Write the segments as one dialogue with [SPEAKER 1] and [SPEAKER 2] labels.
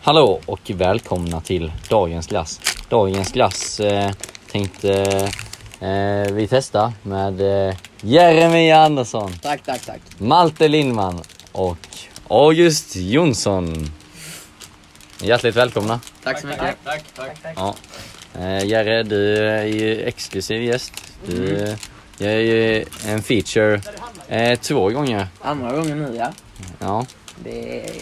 [SPEAKER 1] Hallå och välkomna till dagens glass. Dagens glass eh, tänkte eh, vi testa med eh, Jeremy Andersson,
[SPEAKER 2] Tack, tack, tack.
[SPEAKER 1] Malte Lindman och August Jonsson. Hjärtligt välkomna.
[SPEAKER 2] Tack så mycket.
[SPEAKER 3] Tack, tack.
[SPEAKER 1] Ja. Eh, Jerre, du är ju exklusiv gäst. Du eh, jag är ju en feature eh, två gånger.
[SPEAKER 2] Andra gången nu ja.
[SPEAKER 1] Ja.
[SPEAKER 2] Det är,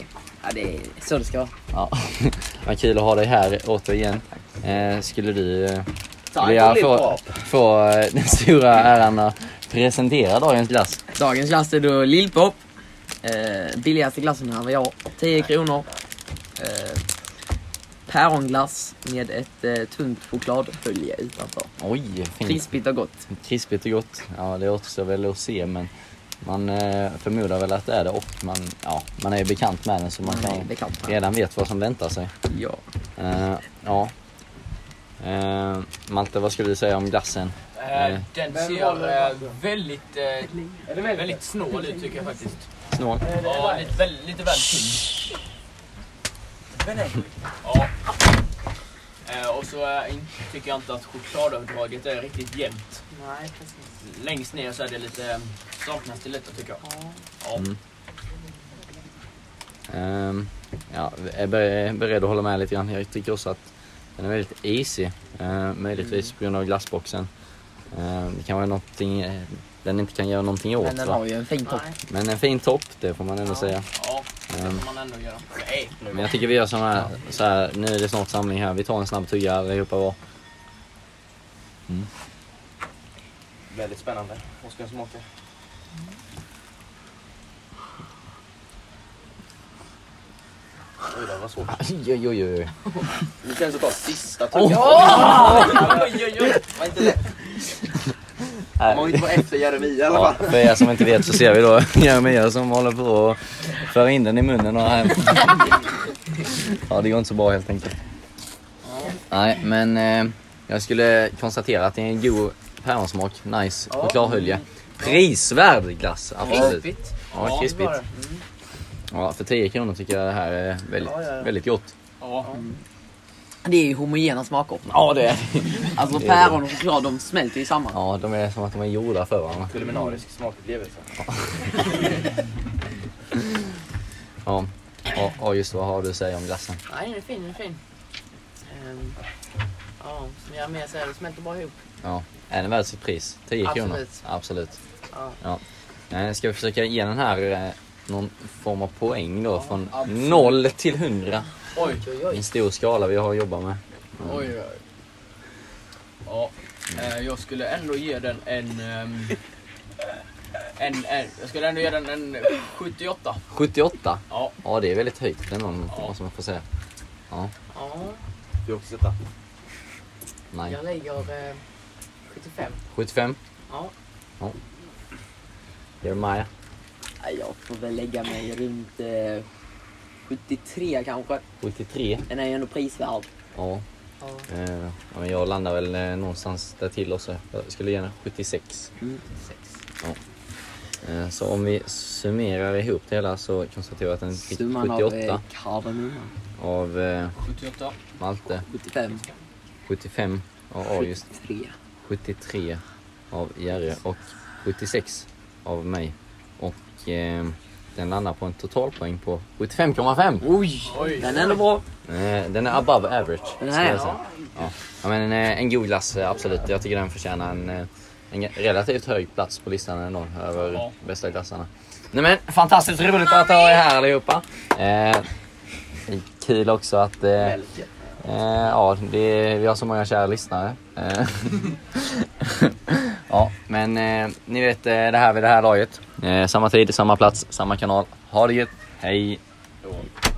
[SPEAKER 2] ja, det är så det ska vara.
[SPEAKER 1] Ja. Vad kul att ha dig här återigen. Eh, skulle du eh,
[SPEAKER 3] Tack,
[SPEAKER 1] vilja
[SPEAKER 3] Oliver.
[SPEAKER 1] få, få eh, den stora äran att presentera dagens glass?
[SPEAKER 2] Dagens glass är då Lillpop. Eh, billigaste glassen här var jag. 10 kronor. Eh, päronglass med ett eh, tunt chokladfölje utanför.
[SPEAKER 1] Oj, fint.
[SPEAKER 2] Krispigt och gott.
[SPEAKER 1] Krispigt och gott. Ja, det återstår väl att se men man eh, förmodar väl att det är det och man, ja, man är ju bekant med den så man
[SPEAKER 2] Mm, Man är
[SPEAKER 1] kan,
[SPEAKER 2] bekant med.
[SPEAKER 1] redan vet vad som väntar sig.
[SPEAKER 2] Ja.
[SPEAKER 1] Eh, ja. Eh, Malte, vad skulle du säga om glassen?
[SPEAKER 3] Eh,
[SPEAKER 1] Eh.
[SPEAKER 3] Den ser eh, väldigt, eh, väldigt snål ut tycker jag faktiskt.
[SPEAKER 1] Snål?
[SPEAKER 3] Ja, lite, väl, lite väl tunn. Ja. Eh, Och så eh, in- tycker jag inte att chokladöverdraget är riktigt jämnt.
[SPEAKER 2] Nej, precis.
[SPEAKER 3] Längst ner så är det lite, eh, saknas det lite tycker jag. Ja.
[SPEAKER 1] Mm. Ehm, ja, är bere- beredd att hålla med lite grann. Jag tycker också att den är väldigt easy. Uh, möjligtvis på grund av glassboxen. Ehm, det kan vara någonting eh, den inte kan göra någonting åt.
[SPEAKER 2] Men den
[SPEAKER 1] va?
[SPEAKER 2] har ju en fin topp.
[SPEAKER 1] Men en fin topp, det får man ändå säga.
[SPEAKER 3] Ja, det
[SPEAKER 1] Ehm,
[SPEAKER 3] får man ändå göra. Nej,
[SPEAKER 1] men jag tycker vi gör så här, så här, nu är det snart samling här. Vi tar en snabb tugga allihopa var.
[SPEAKER 3] Väldigt spännande. Vad ska jag smaka? Oj, det var svårt.
[SPEAKER 1] Oj, oj, oj, oj.
[SPEAKER 3] Nu känns det bara sista tuggan. Oj, oj, oj. Var inte lätt. Man vill inte vara efter Jeremia i alla
[SPEAKER 1] Ja,
[SPEAKER 3] fall.
[SPEAKER 1] för er som inte vet så ser vi då Jeremia som håller på och föra in den i munnen och Ja, det går inte så bra helt enkelt. Nej, men eh, jag skulle konstatera att det är en god päronsmak. Nice chokladhölje. Prisvärd glass, absolut.
[SPEAKER 3] Krispigt.
[SPEAKER 1] Ja, krispigt. Ja, för 10 kronor tycker jag det här är väldigt,
[SPEAKER 3] Ja, ja, ja.
[SPEAKER 1] väldigt gott.
[SPEAKER 3] Ja. Mm.
[SPEAKER 2] Det är ju homogena smaker.
[SPEAKER 1] Ja, det är Mm. Det
[SPEAKER 2] Alltså
[SPEAKER 1] är det.
[SPEAKER 2] päron och choklad de smälter ju samman.
[SPEAKER 1] Ja, de är som att de är gjorda för varandra.
[SPEAKER 3] Kulinarisk smakupplevelse.
[SPEAKER 1] Ja. Ja, ja, just vad har du att säga om glassen?
[SPEAKER 4] Nej, den är fin, den är fin. Ehm, Ja, som jag med säger, det smälter bara ihop.
[SPEAKER 1] Ja, är den värd sitt pris? 10 kronor?
[SPEAKER 4] Absolut.
[SPEAKER 1] Absolut.
[SPEAKER 4] Ja.
[SPEAKER 1] Ja. Eh, Ska vi försöka ge den här eh, någon form av poäng då? Från 0 till 100.
[SPEAKER 3] Oj, oj,
[SPEAKER 1] En stor skala vi har att jobba med.
[SPEAKER 3] oj. Ja, eh, jag skulle ändå ge den en... ehm, En, en, jag skulle ändå ge den en 78.
[SPEAKER 1] 78?
[SPEAKER 3] Ja.
[SPEAKER 1] Ja, det är väldigt högt ändå, måste man få säga.
[SPEAKER 4] Ja,
[SPEAKER 3] Du också sätta.
[SPEAKER 1] Nej.
[SPEAKER 4] jag lägger eh, 75.
[SPEAKER 1] 75?
[SPEAKER 4] Ja.
[SPEAKER 1] ja. Jeremiah?
[SPEAKER 2] Ja, Jag får väl lägga mig runt eh, 73 kanske.
[SPEAKER 1] 73?
[SPEAKER 2] Den är ju ändå prisvärd.
[SPEAKER 1] Ja.
[SPEAKER 4] Ja.
[SPEAKER 1] Eh, ja, men jag landar väl eh, någonstans där till också. Jag skulle gärna 76.
[SPEAKER 2] Mm.
[SPEAKER 1] Eh, Så om vi summerar ihop det hela så konstaterar vi att den fick
[SPEAKER 2] Summan av
[SPEAKER 1] 78
[SPEAKER 2] eh, kardemumma.
[SPEAKER 1] av eh,
[SPEAKER 3] 78.
[SPEAKER 1] Malte,
[SPEAKER 2] 75,
[SPEAKER 1] 75 av August,
[SPEAKER 2] 73.
[SPEAKER 1] 73 av Jerry och 76 av mig. Och eh, den landar på en totalpoäng på 75,5.
[SPEAKER 2] Oj!
[SPEAKER 3] Oj.
[SPEAKER 2] Den är ändå bra.
[SPEAKER 1] Eh, den är above average.
[SPEAKER 2] Den
[SPEAKER 1] skulle
[SPEAKER 2] här,
[SPEAKER 1] jag säga. Ja. Ja, men, eh, en god glass, eh, absolut. Jag tycker den förtjänar en, eh, en relativt hög plats på listan ändå, över
[SPEAKER 3] Ja.
[SPEAKER 1] bästa glassarna. Nej, men, fantastiskt roligt att ha er här allihopa. Eh, kul också att eh, eh, ja, det, vi har så många kära lyssnare. Eh, ja, men eh, ni vet eh, det här vid det här laget. Eh, samma tid, samma plats, samma kanal. Ha det gött. Hej!
[SPEAKER 3] Ja.